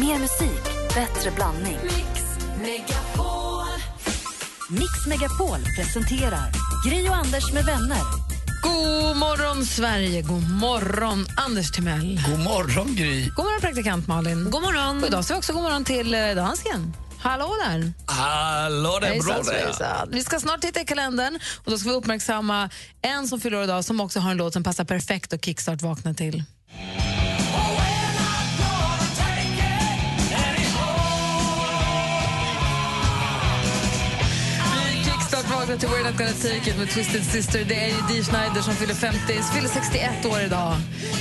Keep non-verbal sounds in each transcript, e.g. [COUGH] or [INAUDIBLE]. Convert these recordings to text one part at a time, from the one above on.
Mer musik, bättre blandning. Mix Megapol. Mix Megapol presenterar Gri och Anders med vänner. God morgon, Sverige. God morgon, Anders Timell. God morgon, Gry. God morgon, praktikant Malin. God morgon. Och idag säger jag också god morgon till eh, dansken. Hallå där! Hallå där, Hejsan, bra där. svejsan. Vi ska snart titta i kalendern och då ska vi uppmärksamma en som fyller år idag som också har en låt som passar perfekt att kickstart-vakna till. Kickstart-vakna till We're Not Gonna Take It med Twisted Sister. Det är ju Dee Schneider som fyller 50, fyller 61 år idag.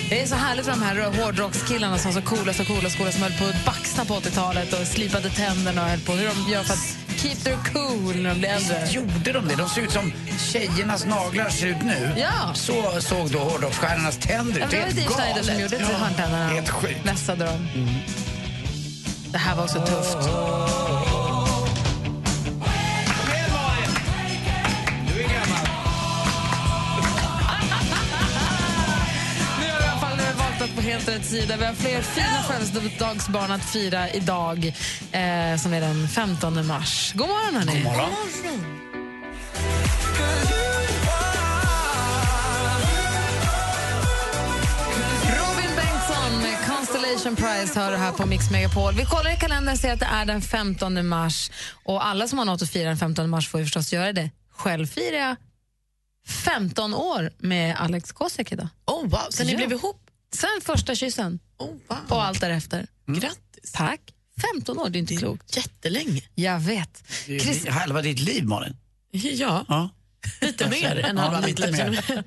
Det är så härligt för de här hårdrockskillarna som var så coola, så coola, så coola som höll på att baxna på 80-talet och slipade tänderna och höll på. Hur de gör för att keep their cool när de blir äldre. Gjorde de det? De ser ut som tjejernas naglar ser ut nu. Ja. Så såg då hårdrocksstjärnornas tänder Ja, ut. men det var Dee Schneider som gjorde typ till hörntänderna. Helt sjukt. Mm. Vässade dem. Det här var också tufft. Nu har vi i alla fall valt att på helt rätt sida. Vi har fler fina födelsedagsbarn att fira idag, eh, som är den 15 mars. God morgon, hörni. God morgon. Robin Bengtsson med Constellation Prize hör du här på Mix Megapol. Vi kollar i kalendern och ser att det är den 15 mars. Och alla som har något att fira den 15 mars får ju förstås göra det. Själv firar jag 15 år med Alex Kosek idag. Oh, wow. Sen Ja. ni blev ihop? Sen första kyssen Oh, wow. och allt därefter. Mm. Grattis. Tack. 15 år, det är inte klokt. Jättelänge. Jag vet. Det är Chris- li- Halva ditt liv, Malin. Ja, Ja. lite mer än Ja, halva mitt lite liv. mer.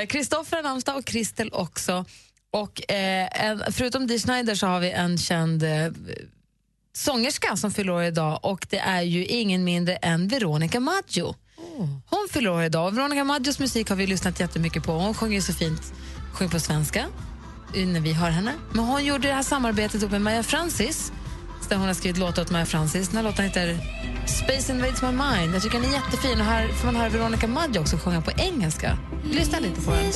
Eh, Kristoffer har namnsdag och Kristel också. Och eh, en, förutom Dee Schneider så har vi en känd eh, sångerska som fyller år idag och det är ju ingen mindre än Veronica Maggio. Hon fyller år idag och Veronica Maggios musik har vi lyssnat jättemycket på. Hon sjunger ju så fint, sjunger på svenska eh, när vi hör henne. Men hon gjorde det här samarbetet ihop med Maja Francis där hon har skrivit låtar åt Maja Francis. Den här låten heter Space Invades My Mind. Jag tycker den är jättefin och här får man höra Veronica Maggio också sjunga på engelska. Lyssna lite på den.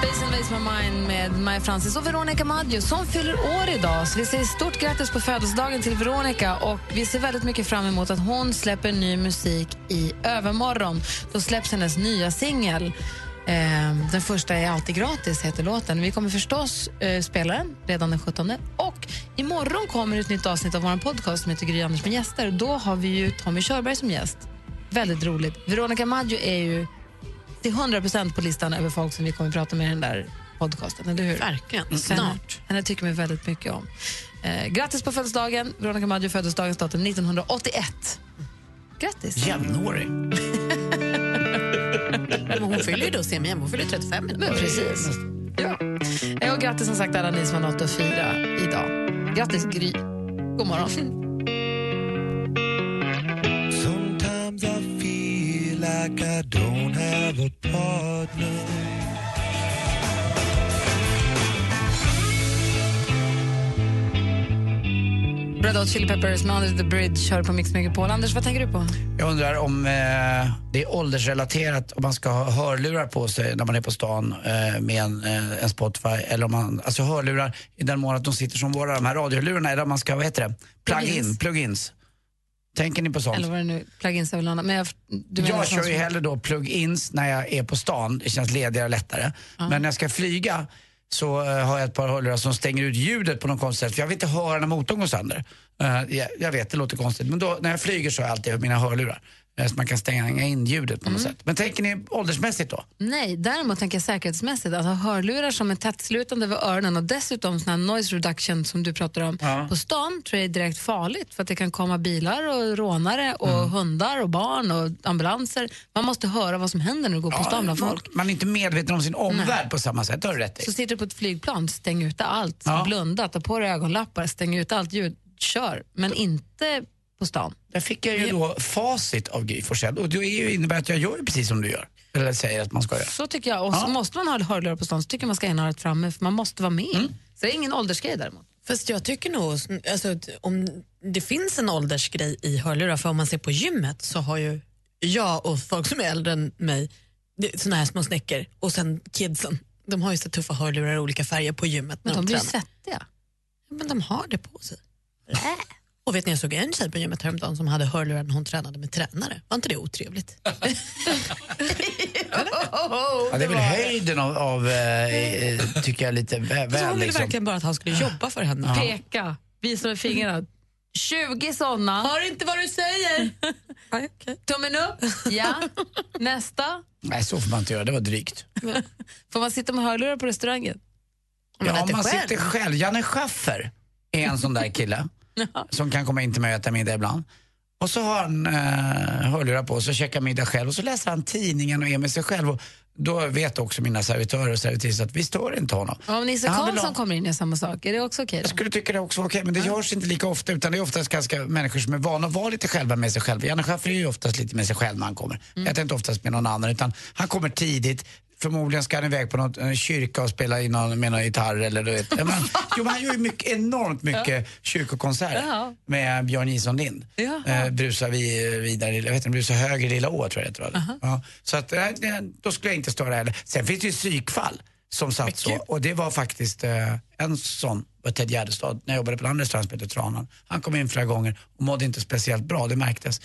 Space Invades My Mind med Maja Francis och Veronica Maggio som fyller år idag. Så vi säger stort grattis på födelsedagen till Veronica och vi ser väldigt mycket fram emot att hon släpper ny musik i övermorgon. Då släpps hennes nya singel. Eh, den första är alltid gratis, heter låten. Vi kommer förstås eh, spela den redan den 17. Och imorgon kommer ett nytt avsnitt av vår podcast som heter Gry Anders med gäster. Då har vi ju Tommy Körberg som gäst. Väldigt roligt. Veronica Maggio är ju till 100 på listan över folk som vi kommer att prata med i den där podcasten. Eller hur? Verkligen. Henne, Snart. henne tycker vi väldigt mycket om. Eh, grattis på födelsedagen. Veronica Maggio föddes dagens datum 1981. Grattis. Jämnårig. Men hon fyller ju då semi hon fyller 35 Men precis. Ja. Eh, Och grattis som sagt alla ni som har något att fira idag. Grattis Gry. God morgon. Red Hot Chili Peppers med Under the Bridge kör på Mix Megapol. Anders, vad tänker du på? Jag undrar om eh, det är åldersrelaterat om man ska ha hörlurar på sig när man är på stan eh, med en, eh, en Spotify. Eller om man, alltså hörlurar i den mån att de sitter som våra, de här radiolurarna, eller om man ska, vad heter det? Plug-in, Plugins. plugins. Tänker ni på sånt? Eller vad det nu plugins är väl annat. Men jag, du menar jag sånt kör ju som- hellre då plug-ins när jag är på stan. Det känns ledigare och lättare. Men när jag ska flyga så eh, har jag ett par hörlurar som stänger ut ljudet på något konstigt sätt. För jag vill inte höra när motorn går sönder. Eh, jag, jag vet, det låter konstigt. Men då, när jag flyger så har jag alltid mina hörlurar. eh, så man kan stänga in ljudet på något Mm. sätt. Men tänker ni åldersmässigt då? Nej, däremot tänker jag säkerhetsmässigt. Att ha hörlurar som är tättslutande över öronen och dessutom sån här noise reduction som du pratar om Ja. på stan tror jag är direkt farligt för att det kan komma bilar och rånare och Mm. hundar och barn och ambulanser. Man måste höra vad som händer när du går på stan bland folk. Man är inte medveten om sin omvärld på samma sätt, det har du rätt i. Så sitter du på ett flygplan, stäng ute allt. Ja. Blunda, ta på dig ögonlappar, stäng ut allt ljud. Kör, men inte på stan. Där fick jag ju då facit av Guy Forssell. Och det är ju innebär att jag gör ju precis som du gör. Eller säger att man ska göra. Så tycker jag. Och så Ja. måste man ha hörlurar på stan så tycker jag man ska ha enörat framme för man måste vara med. Så det är ingen åldersgrej däremot. Fast jag tycker nog, alltså, att om det finns en åldersgrej i hörlurar, för om man ser på gymmet så har ju jag och folk som är äldre än mig det- såna här små snäckor och sen kidsen de har ju så tuffa hörlurar i olika färger på gymmet. när Men de blir ju tränar. svettiga. Men de har det på sig. Och vet ni, jag såg en tjej på gymmet häromdagen som hade hörlurar när hon tränade med tränare. Var inte det otrevligt? Ja, det är väl höjden av, av eh, eh, tycker jag, lite vä- [LAUGHS] Så väl hon ville liksom. verkligen bara att han skulle jobba för henne. Peka, visa med fingrarna. 20 sådana. Hör inte vad [LAUGHS] du säger! Nej, okej. Tummen upp. Ja. Nästa. Nej, så får man inte göra. Det var drygt. Får man sitta med hörlurar på restaurangen? Om man ja, äter man själv. sitter själv. Janne Schaffer är en sån där [LAUGHS] kille som kan komma in till mig och äta middag ibland. Och så har han eh, hörlurar på sig och käkar middag själv och så läser han tidningen och är med sig själv. Och då vet också mina servitörer och servitriser att vi stör inte honom. Och om Nisse Ja, han vill Karlsson ha- kommer in i samma sak, är det också okej? Jag då? skulle tycka det också var okej, men det görs inte lika ofta utan det är oftast ganska människor som är vana att vara lite själva med sig själva. Janne Schaffer är ju oftast lite med sig själv när han kommer. Mm. Jag tänkte oftast med någon annan utan han kommer tidigt, förmodligen ska han iväg på något, en kyrka och spela in någon, med någon gitarr eller du vet. Ja, Men, jo men han gör ju mycket, enormt mycket kyrkokonserter Ja. med Björn Jison Lind. Ja. Eh, brusar vi eh, vidare, jag vet inte, brusar höger i lilla å tror jag det heter, va? ja, Så att, nej, nej, då skulle jag inte störa heller. Sen finns det ju psykfall som satt så och det var faktiskt eh, en sån var Ted Gärdestad när jag jobbade på en annan restaurang som heter Tranan. Han kom in flera gånger och mådde inte speciellt bra, det märktes.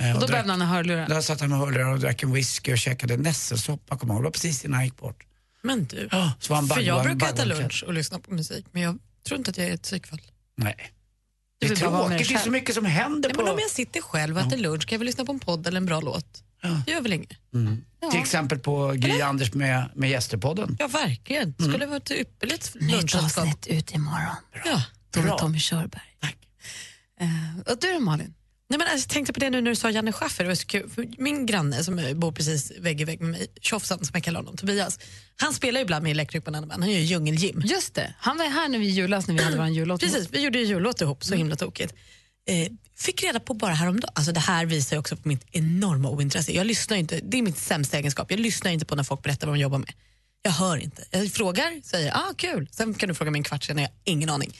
Eh, Och då drack- behövde han ha hörlurar. Där satt han med hörlurar och drack en whisky och käkade nässelsoppa, kommer jag ihåg. Det var precis innan han gick bort. Men du, Ja, så var han för bagg- jag var han brukar äta baggarklädd. lunch och lyssna på musik men jag tror inte att jag är ett psykfall. Nej. Det är vill bara vara med dig tråkigt, det är så själv. mycket som händer Nej, på... men om jag sitter själv och äter lunch kan jag väl lyssna på en podd eller en bra låt? Ja. Det gör väl inget? Till exempel på Gry Anders med, med gästerpodden. Ja, verkligen. Det skulle vara ett ypperligt lunchsällskap. Mm. ut imorgon. Ja. Då med Tommy Körberg. Tack. Eh, och du då Malin? Nej, men alltså, jag tänkte på det nu när du sa Janne Schaffer. Det var så kul. För Min granne som bor precis vägg i vägg med mig, Tjofsan som jag kallar honom, Tobias, han spelar ju ibland med Electric Banana Band. Han gör ju djungelgym. Just det, han var ju här när vi julas när vi hade vår [CLEARS THROAT] jullåt. Precis, vi gjorde ju jullåt ihop, Mm. så himla tokigt. Eh, fick reda på bara häromdagen, alltså det här visar ju också på mitt enorma ointresse. Jag lyssnar ju inte, det är min sämsta egenskap, jag lyssnar inte på när folk berättar vad de jobbar med. Jag hör inte. Jag frågar, säger ah kul, sen kan du fråga mig en kvart senare, jag har ingen aning.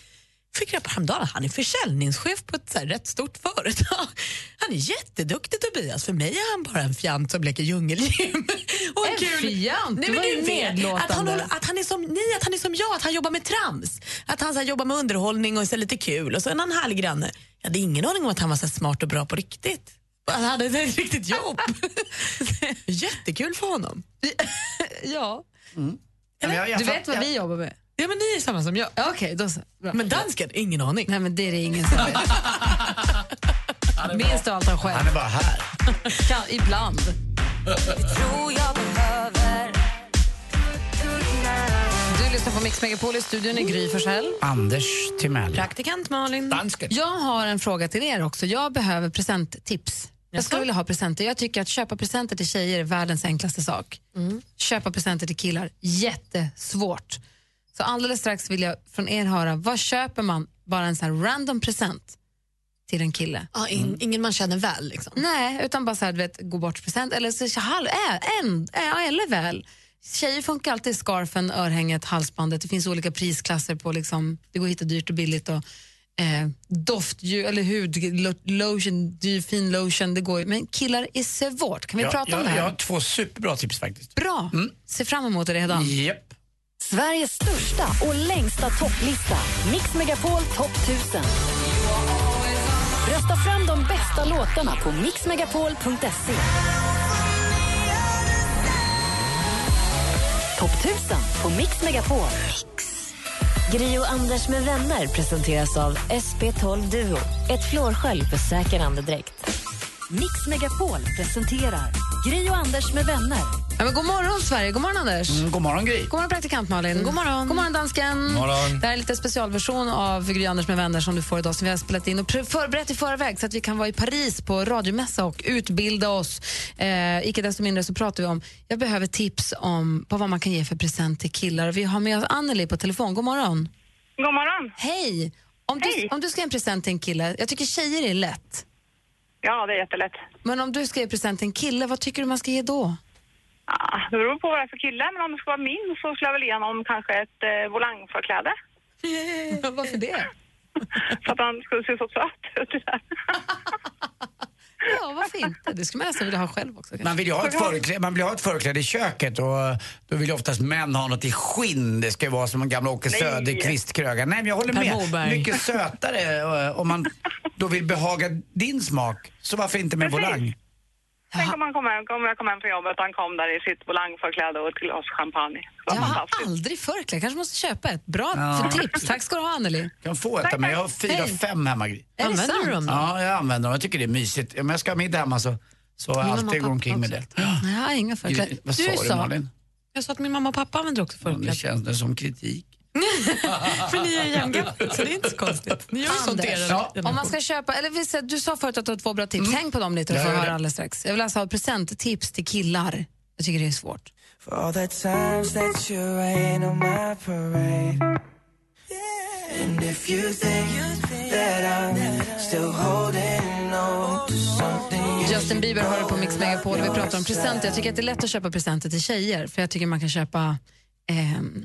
Fick reda på häromdagen att han är försäljningschef på ett så här, rätt stort företag. [LAUGHS] Han är jätteduktig Tobias, för mig är han bara en fjant som leker djungelgym. [LAUGHS] Och En fjant? Nej, Det men var ju du vet, att han, nedlåtande. håller, att han är som, nej, att han är som jag, att han jobbar med trams. Att han så här, jobbar med underhållning och är så här lite kul. Och så är han en härlig granne. Jag hade ingen aning om att han var så här smart och bra på riktigt. Han hade ett [LAUGHS] riktigt jobb. Jättekul för honom. Ja. Men jag- jag Du vet fatt- vad jag- vi jobbar med? Ja, men ni är samma som jag. Ja, Okej, då så. Bra. Men dansken, ingen aning. Nej men det är det ingen som [LAUGHS] vet. Minns du allt han själv? Han är bara här. Kan, ibland. Tror jag behöver Du lyssnar på Mix Megapol i studion i Gry Forssell. Anders Timell. Praktikant Malin. Dansken. Jag har en fråga till er också. Jag behöver presenttips. Jag skulle Jaså? vilja ha presenter. Jag tycker att köpa presenter till tjejer är världens enklaste sak. Mm. Köpa presenter till killar, jättesvårt. Så alldeles strax vill jag från er höra, vad köper man bara en sån här random present till en kille? Ja, in, ingen man känner väl. Liksom. Nej, utan bara så här, du vet, gå bort present eller så, så halv, äh, en, äh, eller väl. Tjejer funkar alltid scarfen, örhänget, halsbandet. Det finns olika prisklasser på liksom, det går att hitta dyrt och billigt och eh, doft eller hud, lo- lotion, dyr, fin lotion, det går ju. Men killar är svårt. Kan vi prata om det här? Jag har två superbra tips faktiskt. Bra. Se fram emot det Mm. redan. Japp. Sveriges största och längsta topplista. Mix Megapol topp 1000. Rösta fram de bästa låtarna på mixmegapol.se. Topp 1000 på Mix Megapol. Gri och Anders med vänner presenteras av SP12 Duo. Ett flårskölj för säker andedräkt. Mix Megapol presenterar Gri och Anders med vänner. Ja, men god morgon Sverige, god morgon Anders. Mm, god morgon Gry. God morgon praktikant Malin. God morgon. Mm. God morgon dansken. morgon. Det här är lite specialversion av Gry Anders med vänner som du får idag som vi har spelat in och pre- förberett i förväg så att vi kan vara i Paris på radiomässa och utbilda oss. Eh, icke desto mindre så pratar vi om, jag behöver tips om på vad man kan ge för present till killar. Vi har med oss Anneli på telefon. God morgon. God morgon. Hej. Om du, Hej. om du ska ge en present till en kille, jag tycker tjejer är lätt, Ja, det är jättelätt. men om du ska ge present till en kille, vad tycker du man ska ge då? Ah, det beror på vad det är för kille, men om det ska vara min så skulle jag väl ge honom kanske ett eh, volangförkläde. Varför det? [LAUGHS] Så att han skulle se så söt ut. i det. Ja, varför inte? Det skulle man nästan vilja ha själv också. kanske. Man vill ju ha ett förkläde, man vill ha ett förkläde i köket och eh, då vill ju oftast män ha något i skinn. Det ska ju vara som en gamla Åke Nej. Söderqvist-kröga. Nej, men jag håller Per med. Morberg. Mycket sötare eh, om man då vill behaga din smak. Så varför inte med Precis. volang? Tänk om han kom hem, om jag kom hem från jobbet och han kom där i sitt volangförkläde och ett glas champagne. Det var Jag har fantastiskt. aldrig förkläde. kanske måste köpa ett. Bra Ja. för tips. Tack ska du ha, Anneli. Kan få ett av mig. Jag har fyra, Hej. fem hemma. Gry. Är det Använder du sant? dem då? Ja, jag använder dem. Jag tycker det är mysigt. Om jag ska ha middag hemma så, så har jag Min mamma alltid och går pappa omkring med också. det. [GASPS] Ja. Nej, jag har inga förkläden. Vad sa du, Malin? Jag sa att min mamma och pappa använder också Det förkläde. känns det som kritik. För ni är [LAUGHS] jämngamla, så det är inte så konstigt. Ni gör ju sånt i er Ja. generation. Om man ska köpa, eller vi säger, du sa förut att du har två bra Mm. tips. Tänk på dem lite och Jag få gör höra det. alldeles strax. Jag vill alltså ha presenttips till killar. Jag tycker det är svårt. For all the times that you rain on my parade. And if you think that I'm still holding on to something. Justin Bieber har det på Mix Megapol. Vi pratar om presenter. Jag tycker att det är lätt att köpa presenter till tjejer. För jag tycker man kan köpa ehm,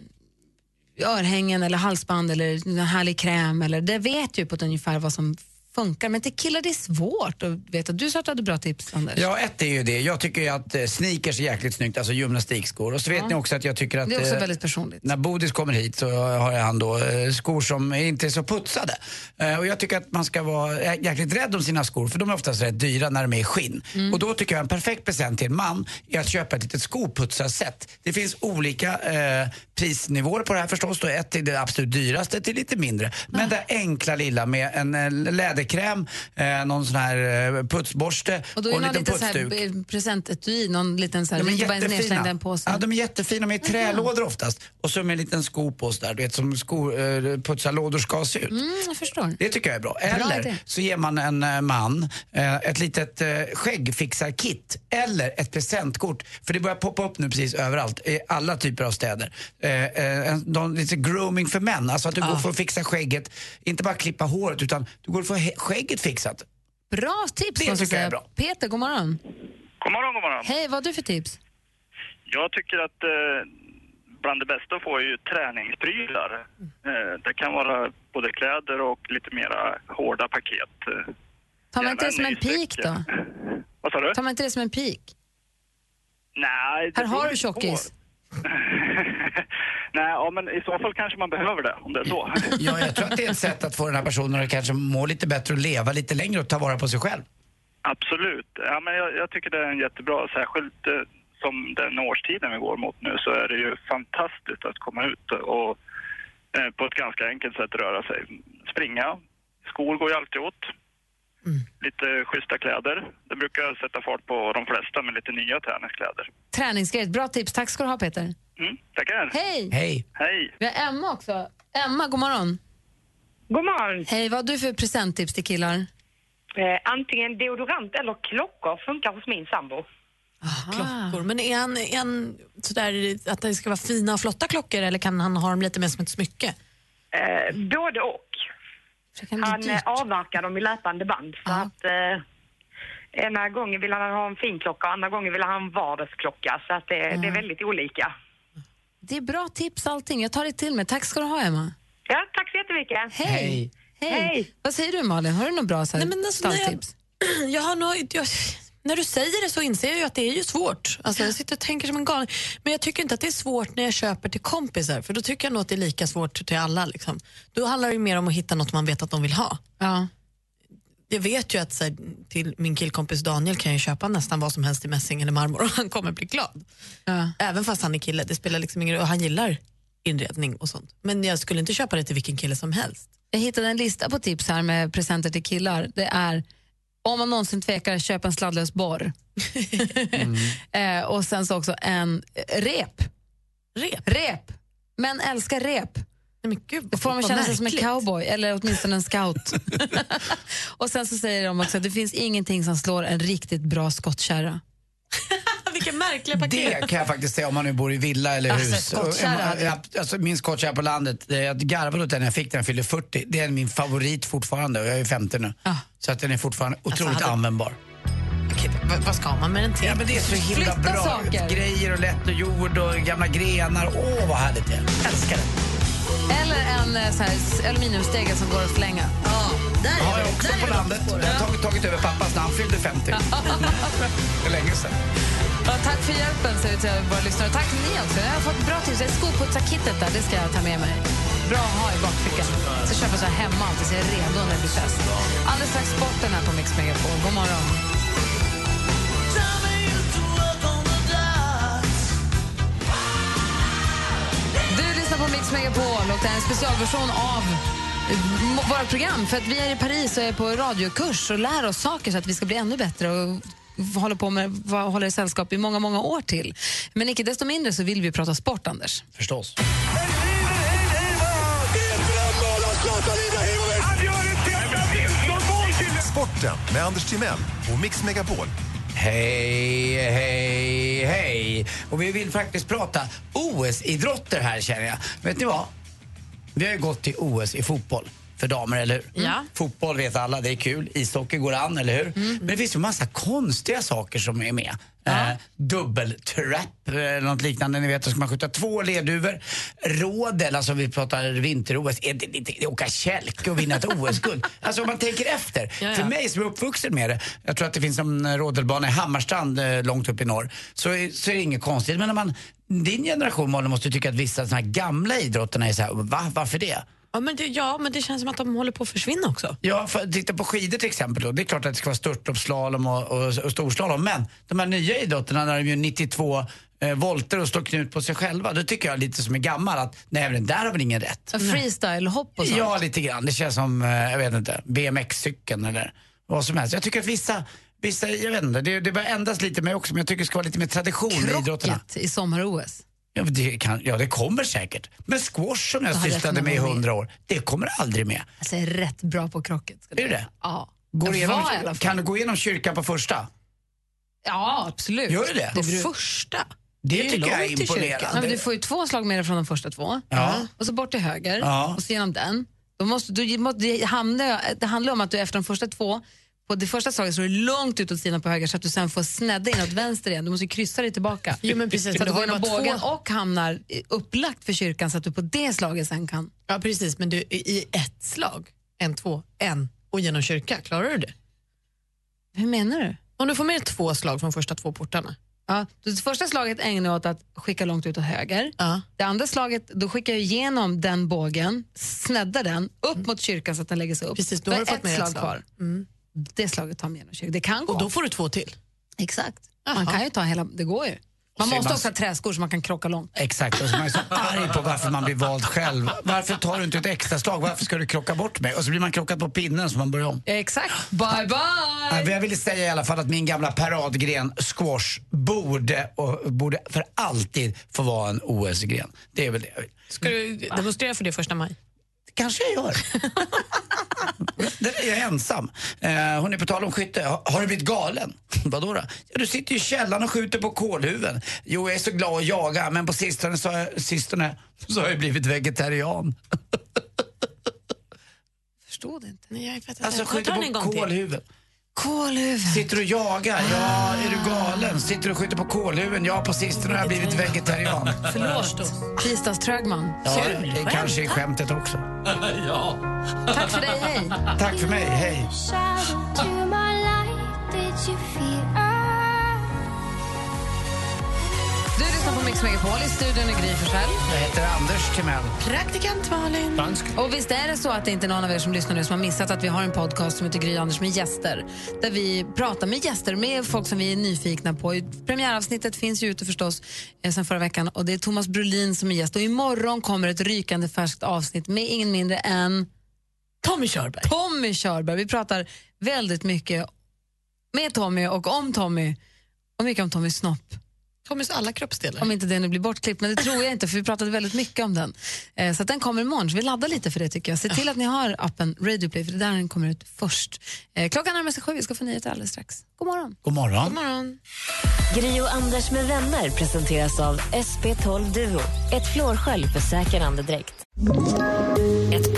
örhängen eller halsband eller en härlig kräm. Eller, det vet ju på ett ungefär vad som funkar. Men till killar det är svårt att veta. Du sa att du hade bra tips, Anders. Ja, ett är ju det. Jag tycker ju att eh, sneakers är jäkligt snyggt, alltså gymnastikskor. Och så vet ni också att jag tycker att... Det är också eh, väldigt personligt. När Bodis kommer hit så har han då eh, skor som inte är så putsade. Eh, Och jag tycker att man ska vara jä- jäkligt rädd om sina skor för de är oftast rätt dyra när de är i skinn. Mm. Och då tycker jag en perfekt present till en man är att köpa ett litet skoputsarset. Det finns olika eh, prisnivåer på det här förstås. Då ett till det absolut dyraste till lite mindre. Ah. Men det enkla lilla med en eh, läderkräm, eh, någon sån här eh, putsborste Och och, då är det en någon liten liten så här putsduk. b- presentetui, någon liten så här, det är inte bara en nedslängd en påse. Ja, de är jättefina. De är i trälådor oftast. Och så med en liten sko på oss där, du vet som sko, eh, putsarlådor ska se ut. Mm, jag förstår. Det tycker jag är bra. idé. Eller så ger man en eh, man eh, ett litet eh, skäggfixarkit eller ett presentkort. För det börjar poppa upp nu precis överallt i alla typer av städer. Eh, eh, en- de, lite grooming för män, alltså att du går för att fixa skägget. Inte bara klippa håret utan du går för att få he- skägget fixat. Bra tips! Det måste tycker jag säga. är bra. Peter, god morgon. God morgon, god morgon. Hej, vad har du för tips? Jag tycker att eh, bland det bästa får ju träningsprylar. Mm. Eh, det kan vara både kläder och lite mera hårda paket. Eh, Tar man inte det gärna som en pik nystycke. då? [LAUGHS] Vad sa du? Tar man inte det som en pik? Nej, det Här har beror du ju på. [LAUGHS] tjockis. Nej, ja, men i så fall kanske man behöver det, om det är så. [LAUGHS] Ja, jag tror att det är ett sätt att få den här personen att kanske må lite bättre och leva lite längre och ta vara på sig själv. Absolut. Ja, men jag, jag tycker det är en jättebra, särskilt eh, som den årstiden vi går mot nu så är det ju fantastiskt att komma ut och eh, på ett ganska enkelt sätt röra sig. Springa, skor går ju alltid åt. Lite schyssta kläder. Det brukar jag sätta fart på de flesta med lite nya träningskläder. Träningsgrejer, bra tips. Tack ska du ha Peter. Mm, tackar! Hej! Hej! Hej. Vi har Emma också. Emma, god morgon. God morgon. Hej, vad har du för presenttips till killar? Eh, antingen deodorant eller klockor funkar hos min sambo. klockor. Men är han, är han sådär att det ska vara fina och flotta klockor eller kan han ha dem lite mer som ett smycke? Eh, både och. Det kan bli Han eh, dyrt. avverkar dem i löpande band. Så Ja. att, eh, ena gången vill han ha en fin klocka och andra gången vill han ha en vardagsklocka. Så att det, det är väldigt olika. Det är bra tips allting. Jag tar det till mig. Tack ska du ha Emma. Ja, tack så jättemycket. Hej! Hej. Hej. Hej. Vad säger du Malin? Har du något bra så här, Nej, men alltså, när jag- stalltips? Jag har nog, jag, när du säger det så inser jag ju att det är ju svårt. Alltså, jag sitter och tänker som en galning. Men jag tycker inte att det är svårt när jag köper till kompisar för då tycker jag nog att det är lika svårt till alla. Liksom. Då handlar det ju mer om att hitta något man vet att de vill ha. Ja. Jag vet ju att så här, till min killkompis Daniel kan jag ju köpa nästan vad som helst i mässing eller marmor och [LAUGHS] han kommer bli glad. Ja. Även fast han är kille, det spelar liksom ingen roll. Och han gillar inredning och sånt. Men jag skulle inte köpa det till vilken kille som helst. Jag hittade en lista på tips här med presenter till killar. Det är om man någonsin tvekar, köp en sladdlös borr. [LAUGHS] Mm. eh, och sen så också en eh, rep. Rep? Rep! Men älskar rep. Nej, men gud, Då får man vad känna sig som en märkligt. [LAUGHS] cowboy, eller åtminstone en scout. [LAUGHS] och sen så säger de också att det finns ingenting som slår en riktigt bra skottkärra. Vilka märkliga paket. Det kan jag faktiskt säga om man nu bor i villa eller Alltså, hus. skottkärra. Och, eh, jag- Alltså, min skottkärra på landet, eh, jag garvade åt den när jag fick den, jag fyllde 40. Det är min favorit fortfarande och jag är 50 nu. Ja. Så att den är fortfarande otroligt hade- användbar. Okej, vad- vad ska man med den till? Ja, men det är så himla Flytta bra. saker. Grejer och lätt och jord och gamla grenar. Åh, vad härligt det är. Älskar det. Eller en eh, så här, s- aluminiumstege som går att förlänga. Där har jag är också på landet. Jag har tagit, tagit över pappas när han fyllde 50. För länge sedan. Ja, tack för hjälpen, säger vi till våra lyssnare. Tack ni också. Jag har fått bra tips. Det är Skoputsarkittet där, det ska jag ta med mig. Bra att ha i bakfickan. Så köper jag hemma alltid, så jag är redo när det blir fest. Alldeles strax sporten här på Mix Megapol. God morgon. Du lyssnar på Mix Megapol och det är en specialversion av eh, våra program. För att vi är i Paris och är på radiokurs och lär oss saker så att vi ska bli ännu bättre och håller på med vad håller i sällskap i många, många år till. Men icke desto mindre så vill vi prata sport, Anders. Förstås. Sporten med Anders Timell och Mix Megapol. Hej, hej, hej. Och vi vill faktiskt prata OS-idrotter här känner jag. Vet ni vad? Vi har ju gått till OS i fotboll för damer, eller hur? Mm. Ja. Fotboll vet alla, det är kul. Ishockey går an, eller hur? Men det finns ju massa konstiga saker som är med. Eh, dubbeltrap, eller något liknande. Ni vet, då ska man skjuta två leduvor. Rodel, alltså vi pratar vinter-OS. Är det, det, det, åka kälke och vinna ett OS-guld. Alltså om man tänker efter. Ja, ja. För mig som är uppvuxen med det, jag tror att det finns en eh, rodelbana i Hammarstrand eh, långt upp i norr, så, är- så är det inget konstigt. Men när man, din generation, Malin, måste tycka att vissa såna här gamla idrotterna är så här, va, varför det? Ja men, det, ja, men det känns som att de håller på att försvinna också. Ja, för, titta på skidor till exempel då. Det är klart att det ska vara störtloppsslalom och, och, och storslalom. Men de här nya idrotterna när de gör 92 eh, volter och slår knut på sig själva. Då tycker jag lite som är gammal att nej, men den där har väl ingen rätt. Freestyle, hopp och sånt. Ja, lite grann. Det känns som, eh, jag vet inte, BMX-cykeln eller vad som helst. Jag tycker att vissa, vissa jag vet inte, det, det börjar ändras lite med också, men jag tycker det ska vara lite mer tradition i idrotterna. Krocket i sommar-OS. Ja, men det, kan, ja, det kommer säkert. Men squash som jag hade jag sysslade kunnat med i vara med. hundra år, det kommer aldrig med. Alltså, jag är rätt bra på krocket. Ska du Är du det? Ja. Går jag igenom, var i alla fall. kan du gå igenom kyrkan på första? Ja, absolut. Gör du det? det På beror- Första. Det, är tycker jag är långt till kyrkan. Ja, men imponerande. du får ju två slag med dig från de första två. Ja. Och så bort till höger Ja. och så genom den. Då måste, du, måste, det, handlar, det handlar om att du efter de första två, på det första slaget slår du långt ut åt sidan på höger så att du sen får snedda inåt vänster igen. Du måste ju kryssa dig tillbaka. Jo, men precis. Så att Du du har går ju genom bara bågen två- och hamnar i- upplagt för kyrkan så att du på det slaget sen kan... Ja precis, men du, i i ett slag, en, två, en och genom kyrka, klarar du det? Hur menar du? Om du får med två slag från första två portarna. Ja, det första slaget ägnar jag åt att skicka långt ut åt höger. Ja. Det andra slaget, då skickar jag igenom den bågen, sneddar den upp mot kyrkan så att den lägger sig upp. Precis, då har är du fått med ett slag. Mm. Det slaget tar mig genom kyrkan. Det kan gå. Och då får du två till. Exakt. Man kan ju ta hela, det går ju. Man så är måste man- också ha träskor så man kan krocka långt. Exakt, och så [LAUGHS] är man är så arg på varför man blir vald själv. Varför tar du inte ett extra slag? Varför ska du krocka bort mig? Och så blir man krockad på pinnen så man börjar om. Exakt. Bye Ja, bye! men Jag ville säga i alla fall att min gamla paradgren squash borde, och borde för alltid få vara en OS-gren. Det är väl det jag vill. Ska du demonstrera för det första maj? Det kanske jag gör. Den är jag ensam. Eh, hon är på tal om skytte. Har, har du blivit galen? Vadå då? Ja, du sitter ju i källaren och skjuter på kolhuven. Jo, jag är så glad att jaga, men på sistone så har jag, sistone, så har jag blivit vegetarian. Förstod inte. Nej, jag fattar Alltså skjuter på kolhuven. Kålhuvud. Sitter du och jagar? Ja, är du galen? Sitter du och skjuter på kolhuven? Ja, på sistone har jag blivit vegetarian. Förlåt. Tisdagströgman. Ja, Kul. det kanske är skämtet också. Tack för dig, hej. Tack för mig, hej. Du lyssnar på Mix Megapol i studion i Gry Forssell. Jag heter Anders Timell. Praktikant Malin. Och visst är det så att det inte är någon av er som lyssnar nu som har missat att vi har en podcast som heter Gry Anders med gäster. Där vi pratar med gäster, med folk som vi är nyfikna på. Premiäravsnittet finns ju ute förstås eh, sen förra veckan och det är Thomas Brolin som är gäst. Och imorgon kommer ett rykande färskt avsnitt med ingen mindre än Tommy Körberg. Tommy Körberg. Vi pratar väldigt mycket med Tommy och om Tommy och mycket om Tommys snopp. Tommys alla kroppsdelar. Om inte den nu blir bortklippt, men det tror jag inte för vi pratade väldigt mycket om den. Eh, så att den kommer imorgon, så vi laddar lite för det tycker jag. Se till att ni har appen Radioplay för det är där den kommer ut först. Eh, klockan närmar sig sju, vi ska få nyheter alldeles strax. God morgon. God morgon. God morgon. Gri och Anders med vänner presenteras av SP12 Duo. Ett flårskölj för säker andedräkt. Ett